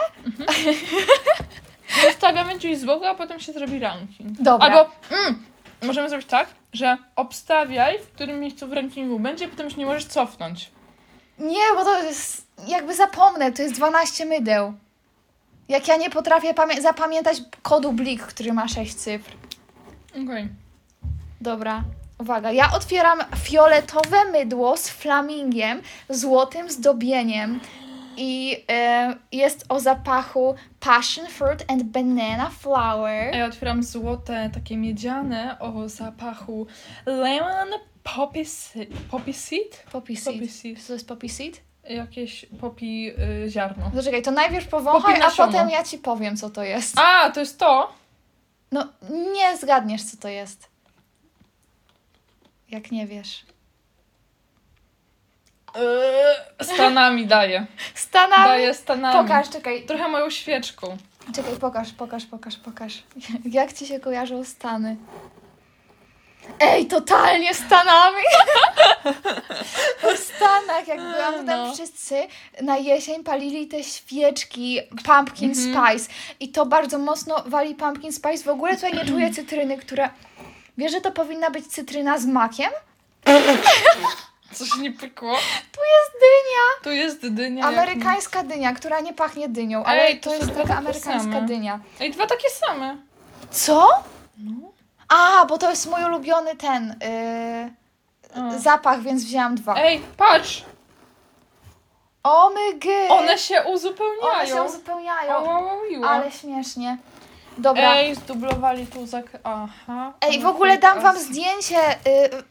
Zostawiamy coś z boku, a potem się zrobi ranking.
Dobra.
Albo mm, możemy zrobić tak, że obstawiaj, w którym miejscu w rankingu będzie, potem się nie możesz cofnąć.
Nie, bo to jest, jakby zapomnę, to jest 12 mydeł. Jak ja nie potrafię pamię- zapamiętać kodu blik, który ma 6 cyfr.
Okej.
Dobra, uwaga. Ja otwieram fioletowe mydło z flamingiem, złotym zdobieniem. I e, jest o zapachu passion fruit and banana
A
flower.
ja otwieram złote, takie miedziane o zapachu lemon poppy, se- poppy seed?
Poppy seed.
Poppy seed.
Co to jest poppy seed?
Jakieś poppy y, ziarno.
Zaczekaj, to najpierw powąchaj,
Poppy
a
nasiona.
potem ja ci powiem, co to jest.
A, to jest to?
No, nie zgadniesz, co to jest. Jak nie wiesz.
Yy, Stanami
<laughs>
daję.
Stanami!
Daję stanami.
Pokaż, czekaj.
Trochę moją świeczką.
Czekaj, pokaż, pokaż, pokaż, pokaż. <laughs> Jak ci się kojarzą Stany? Ej, totalnie Stanami! <laughs> w Stanach, jak byłam, to tam
No.
wszyscy na jesień palili te świeczki pumpkin
Mhm.
spice. I to bardzo mocno wali pumpkin spice. W ogóle tutaj
<clears throat>
nie czuję cytryny, która... Wiesz, że to powinna być cytryna z makiem?
Coś nie pykło.
Tu jest dynia!
Tu jest dynia. jak-
Amerykańska dynia, która nie pachnie dynią, ale
Ej, to
to
są
jest
dwa
taka
takie
amerykańska
same.
dynia.
Ej, dwa takie same.
Co?
No.
A, bo to jest mój ulubiony ten
A.
yy, zapach, więc wzięłam dwa.
Ej,
Y-
patrz!
Omygy!
One się
One się
uzupełniają. Au,
uzupełniają.
au, au, au.
Ale śmiesznie. Dobra. Ej,
Ej, zdublowali tu zak... Aha. no
w ogóle dam wam zdjęcie,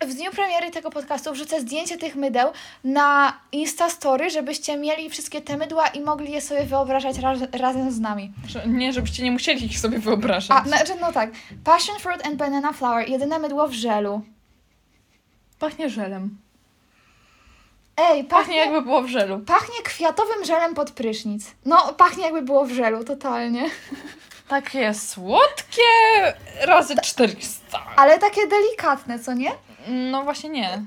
yy, w dniu premiery tego podcastu wrzucę zdjęcie tych mydeł na Instastory, żebyście mieli wszystkie te mydła i mogli je sobie wyobrażać raz, razem z nami.
Że, nie, żebyście nie musieli ich sobie wyobrażać.
A, znaczy, no tak. Passion Fruit and Banana Flower, jedyne mydło w żelu.
Pachnie żelem.
Ej,
Pachnie
pachnie,
jakby było w żelu.
pachnie kwiatowym żelem pod prysznic. No, pachnie jakby było w żelu, totalnie.
Takie słodkie razy 400.
Ale takie delikatne, co nie?
No właśnie nie.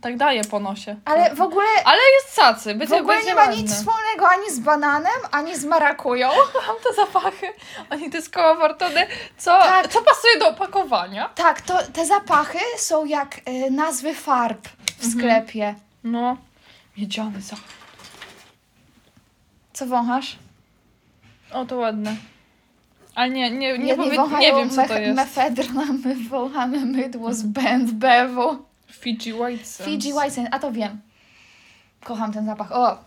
Tak daje po nosie.
Ale w ogóle,
Ale jest sacy.
w
Będzie,
ogóle
będzie
nie ma
ładne.
nic wspólnego ani z bananem, ani z marakują.
Mam te zapachy. Oni te skoła wartone. Co,
Tak.
co pasuje do opakowania?
Tak, to te zapachy są jak y, nazwy farb w
Mhm.
sklepie.
No. Miedziany zapach.
Co wąchasz?
O, to ładne. Ale nie, nie, nie,
Jedni
powie, nie
wąchają
wiem, co to
mef-
jest. Mhm.
mefedron, a <laughs> my wąchamy mydło z Band Bewu.
Fiji White Sands.
Fiji White Sand, a to wiem. Kocham ten zapach. O,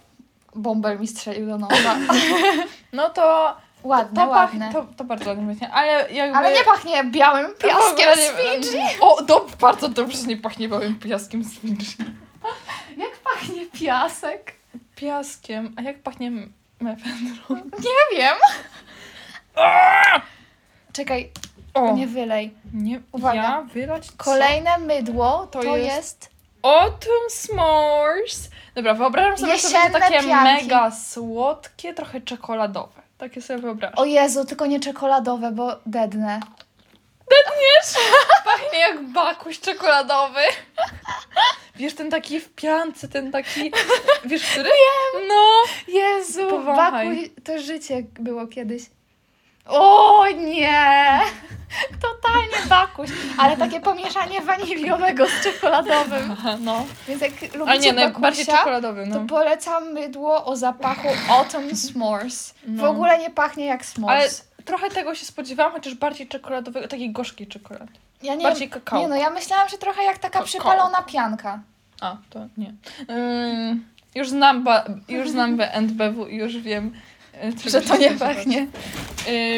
bąbel mi strzelił do nosa.
<laughs> No to...
Ładne,
to,
ładne.
pach, to, to bardzo ładnie pachnie, ale jakby...
Ale nie pachnie białym
to w
piaskiem
ogóle
z
nie-
Fidżi.
O, do, bardzo dobrze nie pachnie białym piaskiem z Fidżi.
Jak pachnie piasek?
Piaskiem, a jak pachnie mefedron?
Nie wiem. Czekaj,
O,
Nie wylej.
nie,
Uwaga.
ja wylać co?
Kolejne mydło to,
To
jest...
jest- Autumn S'mores. Dobra, wyobrażam sobie, że to będzie
Jesienne
takie
pianki.
mega słodkie, trochę czekoladowe. Takie sobie wyobrażam.
O Jezu, tylko nie czekoladowe, bo dedne.
Pachnie jak bakuś czekoladowy. Wiesz, ten taki w piance, ten taki... Wiesz, który? Wiem. No.
Jezu,
Powąchaj.
bakuj, to życie było kiedyś. O nie! <laughs> Totalnie bakuś. Ale takie pomieszanie waniliowego z czekoladowym.
Aha, no.
Więc jak
A nie,
lubicie
najbardziej
bakusia,
czekoladowy,
to
no.
polecam mydło o zapachu Autumn S'mores. W
No.
ogóle nie pachnie jak
Ale
s'mores.
Trochę tego się spodziewałam, chociaż bardziej czekoladowego, taki gorzki czekolad.
Ja nie,
Bardziej kakao.
nie no, ja myślałam, że trochę jak taka
Kakao.
przypalona pianka.
A, to nie. Ym, już znam, ba- już znam NBW i już wiem, y, czego
Że to
się
nie
spodziewać.
pachnie.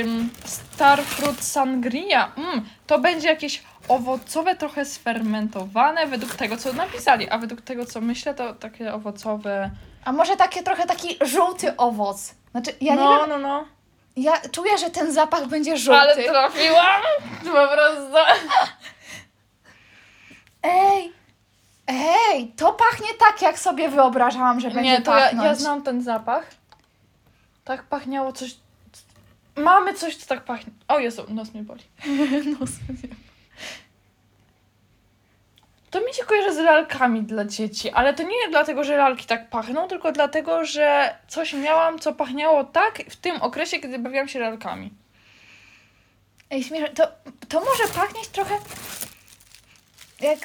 Ym, Star Fruit Sangria. Mm, to będzie jakieś owocowe, trochę sfermentowane według tego, co napisali. A według tego, co myślę, to takie owocowe.
A może takie trochę taki żółty owoc. Znaczy, ja
no,
nie wiem,
no, no.
ja czuję, że ten zapach będzie żółty.
Ale trafiłam! Po prostu.
Ej! Ej, to pachnie tak, jak sobie wyobrażałam, że będzie
Nie, to ja,
pachnąć.
ja znam ten zapach. Tak pachniało coś. Mamy coś, co tak pachnie. O Jezu, nos mnie boli.
No, sobie.
To mi się kojarzy z lalkami dla dzieci, ale to nie dlatego, że lalki tak pachną, tylko dlatego, że coś miałam, co pachniało tak w tym okresie, kiedy bawiłam się lalkami.
<laughs> Ej, śmieszne. To, to może pachnieć trochę jak...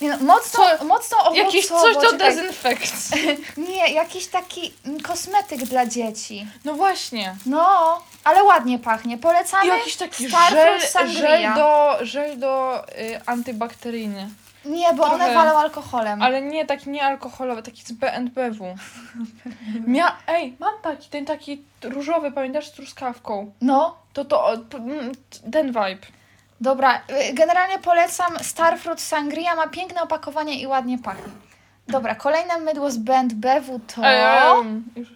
Nie no, mocno,
Co-
mocno owocowo.
Jakieś coś do
czekaj.
dezynfekcji.
Nie, jakiś taki mm, kosmetyk dla dzieci.
No właśnie.
No, ale ładnie pachnie.
I
Polecamy.
jakiś taki
Star
żel,
Fruit Sangria.
żel do, żel do y, antybakteryjny.
Nie, bo one
trochę-
walą alkoholem.
Ale nie taki niealkoholowy, taki z BNBW. Mia- Ej, mam taki, ten taki różowy, pamiętasz, z truskawką.
No,
To to, o, p- mm, ten vibe.
Dobra, y, generalnie polecam Starfruit Sangria, ma piękne opakowanie i ładnie pachnie. Dobra, kolejne mydło z Band BW to
Em, już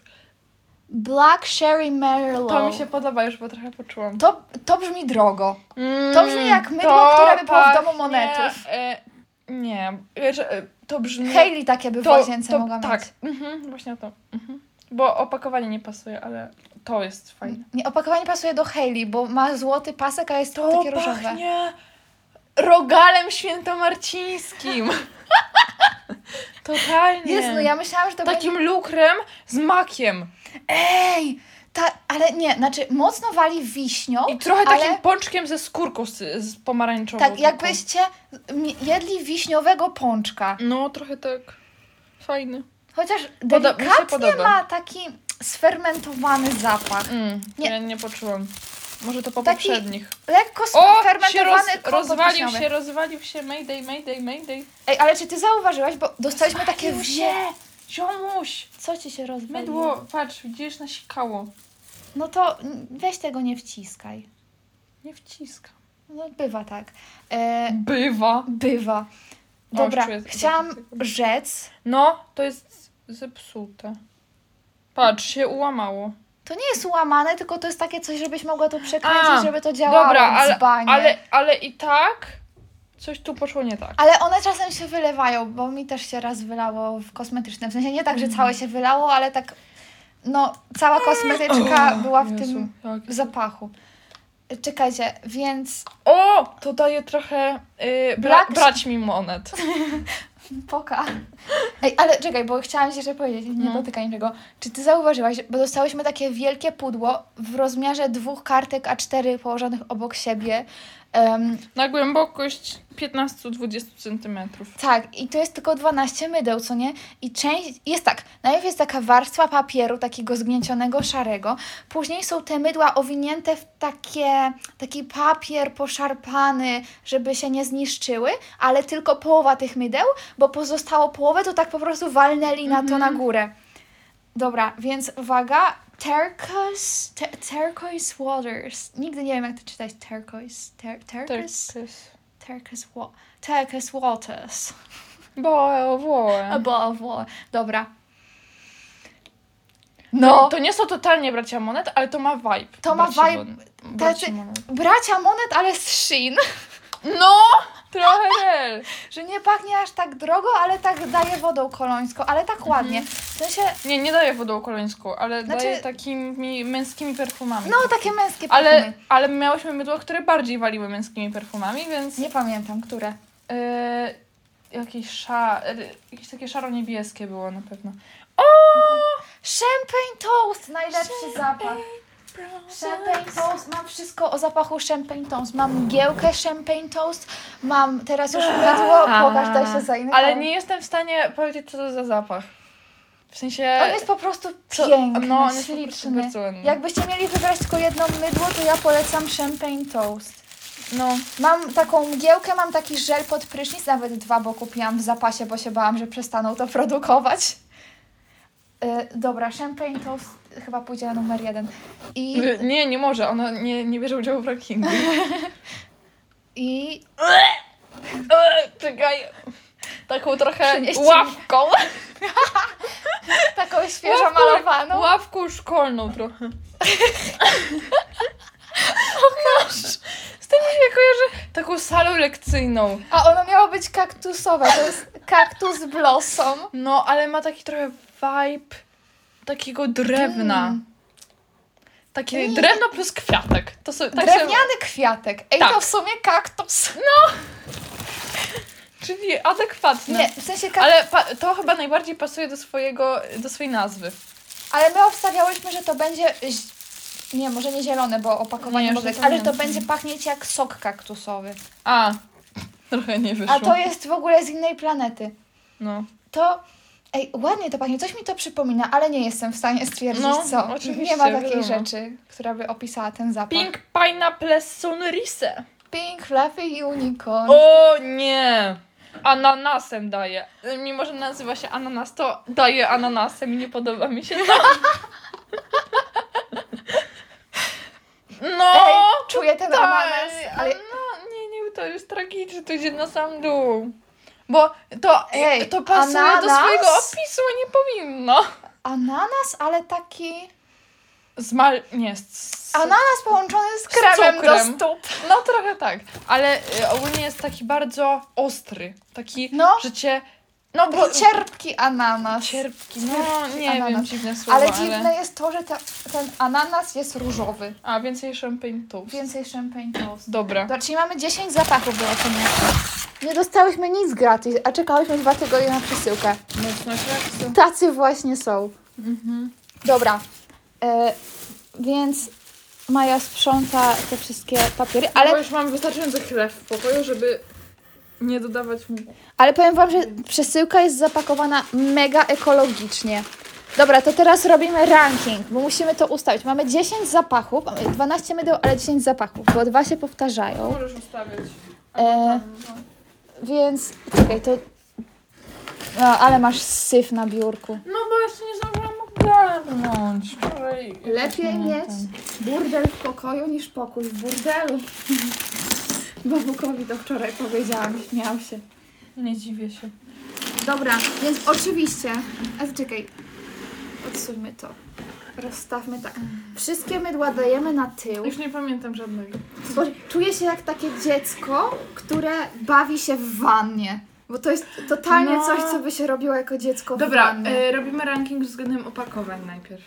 Black Sherry Merlot.
To mi się podoba już, bo trochę poczułam.
to, to brzmi drogo.
Mm,
to brzmi jak mydło,
to
które by było w domu
pachnie,
monetów.
E, nie, wiesz, e, to brzmi...
Hailey takie by w łazience mogła
Tak,
mieć.
mhm, właśnie o to. Mhm. Bo opakowanie nie pasuje, ale to jest fajne.
Nie, opakowanie pasuje do Hailey, bo ma złoty pasek, a jest takie różowe.
pachnie rogalem świętomarcińskim. <laughs> Totalnie.
Jezu, no ja myślałam, że to będzie...
Takim lukrem z makiem.
Ej! Ta, ale nie, znaczy mocno wali wiśnią.
I trochę
ale...
takim pączkiem ze skórką z, z pomarańczową.
Tak,
taką.
jakbyście m- jedli wiśniowego pączka.
No, trochę tak. Fajny.
Chociaż
Poda- mi się
delikatnie
podoba.
ma taki sfermentowany zapach.
Mm,
Nie.
nie. Ja nie poczułam. Może to po
Taki
poprzednich.
Lekko
O, się roz,
sfermentowany kompot
rozwalił
wiśniowy.
się, rozwalił się, mayday, mayday, mayday.
Ej, ale czy ty zauważyłaś, bo dostaliśmy takie wzie...
Ziomuś,
Co ci się rozwaliło?
mydło, patrz, widzisz, nasikało.
No to mm, weź tego nie wciskaj.
Nie wciska.
No bywa tak. E,
Bywa.
bywa. Dobra,
czuję zapach
chciałam
tego.
rzec.
No, to jest zepsute. Patrz, się ułamało.
To nie jest łamane, tylko to jest takie coś, żebyś mogła to przekręcić,
A,
żeby to działało
Dobra, ale,
dzbanie.
ale, ale i tak coś tu poszło nie tak.
Ale one czasem się wylewają, bo mi też się raz wylało w kosmetycznym. W sensie nie tak, że
Mhm.
całe się wylało, ale tak, no, cała kosmetyczka
O,
była w
Jezu,
tym
jakie-
zapachu. Czekajcie, więc
O, to daje trochę yy, bra-
Brak-
brać mi monet.
poka. Ej, ale czekaj, bo chciałam ci jeszcze powiedzieć, nie
No.
dotyka niczego. Czy ty zauważyłaś, bo dostałyśmy takie wielkie pudło w rozmiarze dwóch kartek A4 położonych obok siebie. Em,
Na głębokość 15-20 centymetrów.
Tak, i to jest tylko 12 mydeł, co nie? I część jest tak, najpierw jest taka warstwa papieru, takiego zgnięcionego, szarego, później są te mydła owinięte w takie, taki papier poszarpany, żeby się nie zniszczyły, ale tylko połowa tych mydeł, bo pozostało połowę, to tak po prostu walnęli na to na górę. Dobra, więc uwaga, turquoise, te, turquoise waters, nigdy nie wiem jak to czytać, turquoise, ter,
Tak
turquoise, turquoise, wa- turquoise waters.
Bo, bo.
Albo, albo, dobra.
No.
No,
To nie są totalnie bracia monet, ale to ma vibe.
To znaczy- ma
braci
vibe.
Mon- braci
Tacy-
monet.
bracia Monet, ale z Shin, <laughs>
No! Trochę rel.
że nie pachnie aż tak drogo, ale tak daje wodą kolońską, ale tak ładnie. W sensie,
Nie, nie daje wodą koleńską, ale
Znaczy-
daje takimi męskimi perfumami.
no tak, takie męskie perfumy.
Ale, ale miałyśmy mydło, które bardziej waliły męskimi perfumami, więc
Nie pamiętam, które.
e, jakieś, sza, e, jakieś takie szaro-niebieskie było na pewno.
Champagne Toast, najlepszy zapach. Champagne Toast, mam wszystko o zapachu Champagne Toast. Mam mgiełkę Champagne Toast, mam teraz już mydło, pokaż, daj się za inne.
Ale nie jestem w stanie powiedzieć, co to za zapach. W sensie...
On jest po prostu
co-
E, piękny,
no, on jest po prostu
śliczny.
bardzo ładny.
Jakbyście mieli wybrać tylko jedno mydło, to ja polecam Champagne Toast.
No,
Mam taką mgiełkę, mam taki żel pod prysznic, nawet dwa, bo kupiłam w zapasie, bo się bałam, że przestaną to produkować. E, dobra, Champagne Toast chyba pójdzie na numer jeden. I,
nie, nie może, ona nie, nie bierze udziału w
<laughs>
rankingu.
i
Eee, Czekaj, taką trochę
Przynieście mi-
ławką,
taką świeżo
Ławką-
malowaną.
ławką szkolną
<laughs>
trochę. Z tym mi się kojarzy taką salą lekcyjną.
A ono miało być kaktusowe, to jest kaktus blossom.
No, ale ma taki trochę vibe takiego drewna.
Mm.
Takie
Mm.
drewno plus kwiatek. To sobie, tak Się...
Drewniany kwiatek. Ej, to
Tak.
w sumie kaktus.
Czyli adekwatne.
Nie, w sensie kaktus.
No. Ale pa- to chyba najbardziej pasuje do swojego, do swojej nazwy.
Ale my obstawiałyśmy, że to będzie. ź- Nie, może nie zielone, bo opakowanie
Nie,
może
że
być,
to
ale
nie.
to będzie pachnieć jak sok kaktusowy.
A, trochę nie wyszło.
A to jest w ogóle z innej planety.
No.
To. Ej, ładnie to pachnie, coś mi to przypomina, ale nie jestem w stanie stwierdzić,
No,
co.
oczywiście,
nie ma takiej
wiadomo.
rzeczy, która by opisała ten zapach.
Pink Pineapple Sunrise.
Pink Fluffy i Unicorn.
O nie! Ananasem daje. Mimo, że nazywa się ananas, to daje ananasem i nie podoba mi się to. No!
Ej, czuję ten
tak,
ananas, ale
No, nie, nie, to już tragicznie, to idzie na sam dół. Bo to,
Ej,
to pasuje do
ananas?
swojego opisu, a nie powinno.
ananas, ale taki
Zmal... nie. Z...
ananas połączony z
z
kremem do
cukrem.
stóp.
No trochę tak, ale y, ogólnie jest taki bardzo ostry, taki,
No.
że cię, no bo
Taki Cierpki ananas.
cierpki, no nie
ananas.
wiem, dziwne słowa, ale...
Ale dziwne jest to, że ta, ten ananas jest różowy.
A, więcej champagne toast.
Więcej champagne toast.
Dobra.
Dobra, czyli mamy 10 zapachów do ocenienia. Nie dostałyśmy nic gratis, a czekałyśmy dwa tygodnie na przesyłkę.
Mocno się
Tacy właśnie są.
mhm.
Dobra, e, więc Maja sprząta te wszystkie papiery,
Bo
ale,
już mam wystarczający chleb w pokoju, żeby nie dodawać mi...
ale powiem Wam, że przesyłka jest zapakowana mega ekologicznie. Dobra, to teraz robimy ranking, bo musimy to ustawić. Mamy 10 zapachów, mamy 12 mydeł, ale 10 zapachów, bo dwa się powtarzają.
Możesz ustawiać.
E, Więc, czekaj, to... No, ale masz syf na biurku.
No bo jeszcze nie zdążyłam ogarnąć. Wczoraj-
Lepiej mieć burdel w pokoju niż pokój w burdelu. <laughs> Babukowi to wczoraj powiedziałam, śmiał się.
Nie dziwię się.
Dobra, więc oczywiście... A czekaj, odsuńmy to. Rozstawmy tak. Wszystkie mydła dajemy na tył.
Już nie pamiętam żadnego.
Boże, czuję się jak takie dziecko, które bawi się w wannie. Bo to jest totalnie
No.
coś, co by się robiło jako dziecko w
Dobra,
wannie.
y, robimy ranking względem opakowań najpierw.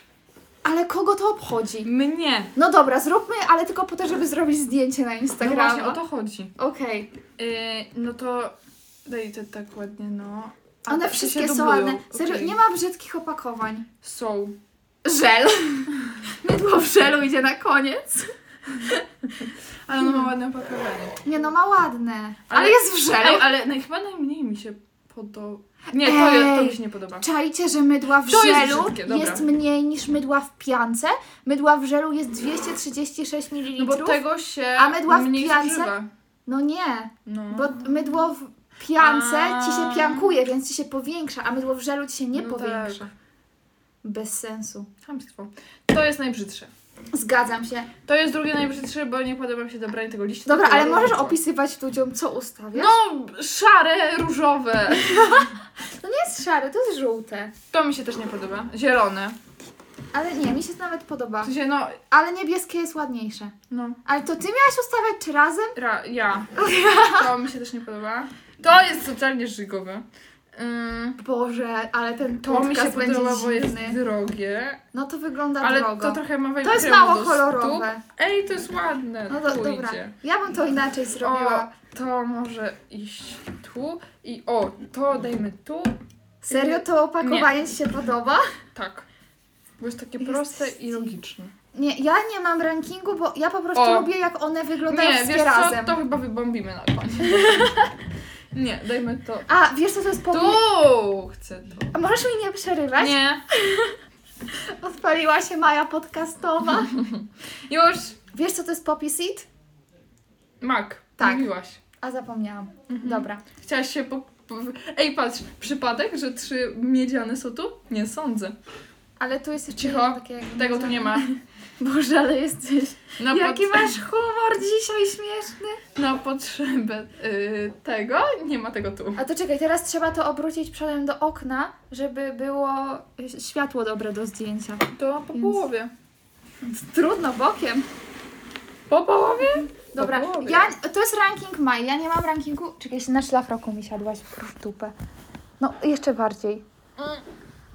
Ale kogo to obchodzi?
Mnie.
No dobra, zróbmy, ale tylko po to, żeby zrobić zdjęcie na
No
Instagrama.
właśnie, o to chodzi.
Okej.
Y, no to daj to tak ładnie, no. A
One
te się
wszystkie są
dublują,
ładne. Serio,
okej.
nie ma brzydkich opakowań.
Są.
Żel. <laughs> Mydło w żelu idzie na koniec.
Ale ono ma ładne opakowanie.
Nie no, ma ładne. Ale,
Ale-
jest w żelu.
Ej, ale naj, chyba najmniej mi się podoba. Nie, to, ja- to
Ej.
mi się nie podoba.
Czajcie, że mydła w
To jest
żelu
brzydkie, dobra.
jest mniej niż mydła w piance. Mydła w żelu jest 236 ml.
No bo tego się
A mydła w
mniej
piance?
zużywa.
no nie,
No.
bo mydło w piance ci się
A.
piankuje, więc ci się powiększa, a mydło w żelu ci się nie
no
powiększa.
Tak.
Bez sensu.
Chamstwo. To jest najbrzydsze.
Zgadzam się.
To jest drugie najbrzydsze, bo nie podoba mi się dobranie tego liścia.
Dobra,
tego
ale możesz
różu.
opisywać ludziom, co ustawiasz?
No, szare, różowe.
To nie jest szare, to jest żółte.
To mi się też nie podoba. Zielone.
Ale nie, mi się nawet podoba.
W sensie, no,
Ale niebieskie jest ładniejsze.
no.
Ale to ty miałaś ustawiać czy razem?
Ra,
<laughs>
ja. To mi się też nie podoba. To jest totalnie żygowe. Ym,
Boże, ale ten
to mi się
podcast będzie
podoba, bo jest
dziwny.
drogie,
No to wygląda
ale
drogo.
to trochę ma
To jest
kremu
mało
do
kolorowe.
stóp. Ej, to jest ładne,
No do,
pójdzie.
dobra, ja bym to inaczej
O,
zrobiła.
to może iść tu i o, to dajmy tu.
Serio, to opakowanie ci się podoba?
Tak. Bo jest takie
Jest
proste i logiczne.
Nie, ja nie mam rankingu, bo ja po prostu
O.
lubię jak one wyglądają
Nie,
wszystkie
wiesz co,
razem. <laughs>
to chyba wybombimy na koniec. Nie, dajmy to.
A, wiesz co to jest powód?
Tu chcę to.
A możesz mi nie przerywać?
Nie.
Odpaliła się Maja
<laughs>
podcastowa.
Już.
Wiesz co to jest poppy seed?
Mak.
Tak.
Mówiłaś.
A zapomniałam.
Mhm.
Dobra.
Chciałaś się po... po- Ej, patrz. Przypadek, że trzy miedziane są tu? Nie sądzę.
Ale tu jest jeszcze
Cicho.
jedno takie jakby
Tego tu nie ma.
Boże, ale jesteś...
Na
Jaki
pod-
masz humor dzisiaj śmieszny.
Na potrzebę y, tego nie ma tego tu.
A to czekaj, teraz trzeba to obrócić przodem do okna, żeby było światło dobre do zdjęcia.
To po
Więc-
połowie.
Trudno, bokiem.
Po połowie?
No Dobra,
Po połowie.
ja, to jest ranking Maj. Ja nie mam rankingu. Czekaj, się na szlafroku mi siadłaś w dupę. No, jeszcze bardziej. Mm.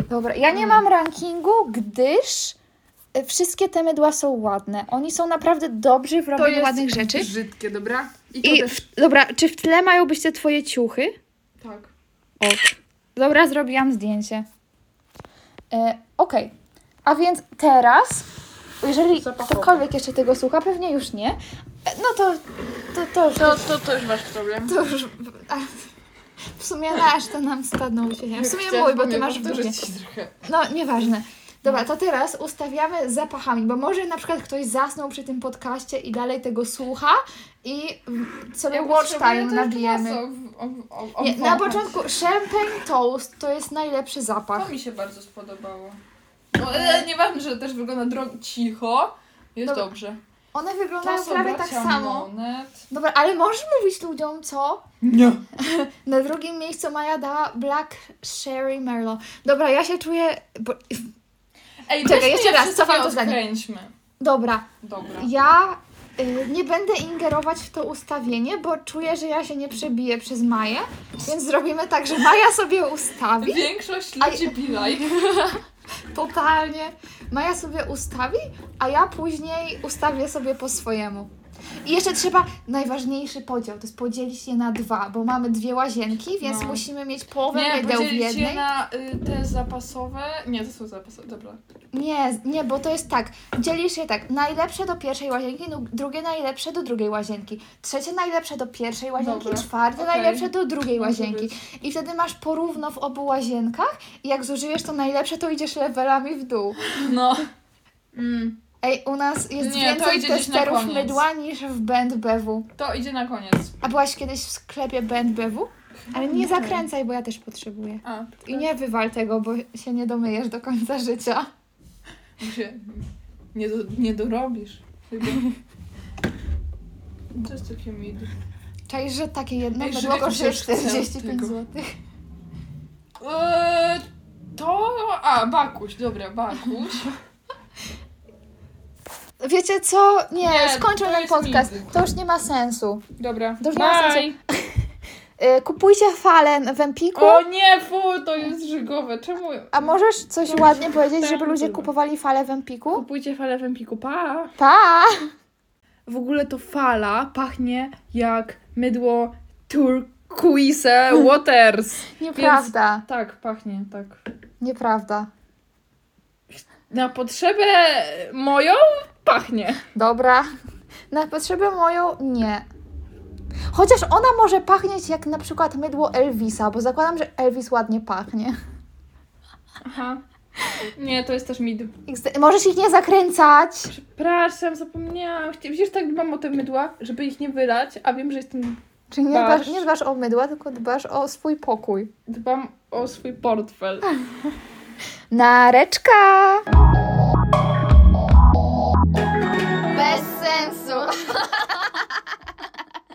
Dobra, ja nie mam rankingu, gdyż e, wszystkie te mydła są ładne. Oni są naprawdę dobrzy w robieniu ładnych rzeczy.
brzydkie, dobra? I to
I
też...
w, dobra, czy w tle mają być te twoje ciuchy?
Tak.
O. Dobra, zrobiłam zdjęcie. E, Okej. A więc teraz, jeżeli
Zapachowe.
ktokolwiek jeszcze tego słucha, pewnie już nie, e, no to to, to, już-
To, to też wasz problem.
to już... A, w sumie nasz to nam stanął się. W sumie
Chciałam
mój, bo ty
mnie
masz w dupie.
powtórzyć trochę.
No, nieważne. Dobra, to teraz ustawiamy zapachami, bo może na przykład ktoś zasnął przy tym podcaście i dalej tego słucha i mm, sobie watch time nabijemy. Nie, na początku champagne toast to jest najlepszy zapach.
To mi się bardzo spodobało. No, e, nieważne, że też wygląda dro... cicho. Jest
Dobra.
dobrze.
One
To
wyglądają
są
prawie tak
bracia
samo.
Monet.
Dobra, ale możesz mówić ludziom, co?
Nie.
Na drugim miejscu Maja dała Black Sherry Merlot. Dobra, ja się czuję... Bo...
Ej,
Czekaj,
weźmy
jeszcze
je
raz,
wszystkie
cofam to zdanie.
odkręćmy.
Dobra,
Dobra.
ja y, nie będę ingerować w to ustawienie, bo czuję, że ja się nie przebiję przez Maję, więc zrobimy tak, że Maja sobie ustawi.
Większość
A-
ludzi be <laughs> like.
Totalnie. Maja sobie ustawi, a ja później ustawię sobie po swojemu. I jeszcze trzeba najważniejszy podział, to jest podzielić je na dwa, bo mamy dwie łazienki, więc
No.
musimy mieć połowę
Nie,
mydeł w
podzielić je
jednej.
na y, te zapasowe. Nie, to są zapasowe, dobra.
Nie, nie, bo to jest tak, dzielisz je tak, najlepsze do pierwszej łazienki, nu- drugie najlepsze do drugiej łazienki, trzecie najlepsze do pierwszej łazienki,
Dobra,
czwarte
okej.
najlepsze do drugiej
Może
łazienki. I wtedy masz porówno w obu łazienkach i jak zużyjesz to najlepsze, to idziesz levelami w dół.
<clears throat> No. Mm.
Ej, u nas jest
Nie, to
więcej
idzie gdzieś na
testerów
koniec.
mydła niż w Band BW.
To idzie na koniec.
A byłaś kiedyś w sklepie Band BW? Ale nie
nie.
zakręcaj, bo ja też potrzebuję.
A,
I nie wywal tego, bo się nie domyjesz do końca życia.
Bo się nie, do, nie dorobisz. Chyba. To jest takie mid.
Czaisz, że takie jedno
Ej,
mydło
Żydek
kosztuje
już chce
45
tego.
zł.
Eee, to. A, Bakuś, dobra, Bakuś.
<laughs> Wiecie co? Nie,
Nie,
skończmy
to
ten
jest
podcast.
miny.
To już nie ma sensu.
Dobra.
Dobrze, nie ma sensu. Y, Kupujcie falę w Empiku.
O nie, fu, to jest żygowe. Czemu?
A możesz coś ładnie powiedzieć,
tak,
żeby ludzie
dobra.
kupowali falę w Empiku?
Kupujcie falę w Empiku, pa!
Pa!
W ogóle to fala pachnie jak mydło turquoise waters.
Nieprawda.
<laughs> Tak, pachnie, tak.
Nieprawda.
Na potrzebę moją pachnie.
Dobra. Na potrzebę moją nie. Chociaż ona może pachnieć jak na przykład mydło Elvisa, bo zakładam, że Elvis ładnie pachnie.
Aha. Nie, to jest też mid.
XD. Możesz ich nie zakręcać.
Przepraszam, zapomniałam. Chci- Widzisz, tak dbam o te mydła, żeby ich nie wylać, a wiem, że jestem...
Czyli nie
Dbasz.
dbasz, nie dbasz o mydła, tylko dbasz o swój pokój.
dbam o swój portfel.
Nareczka!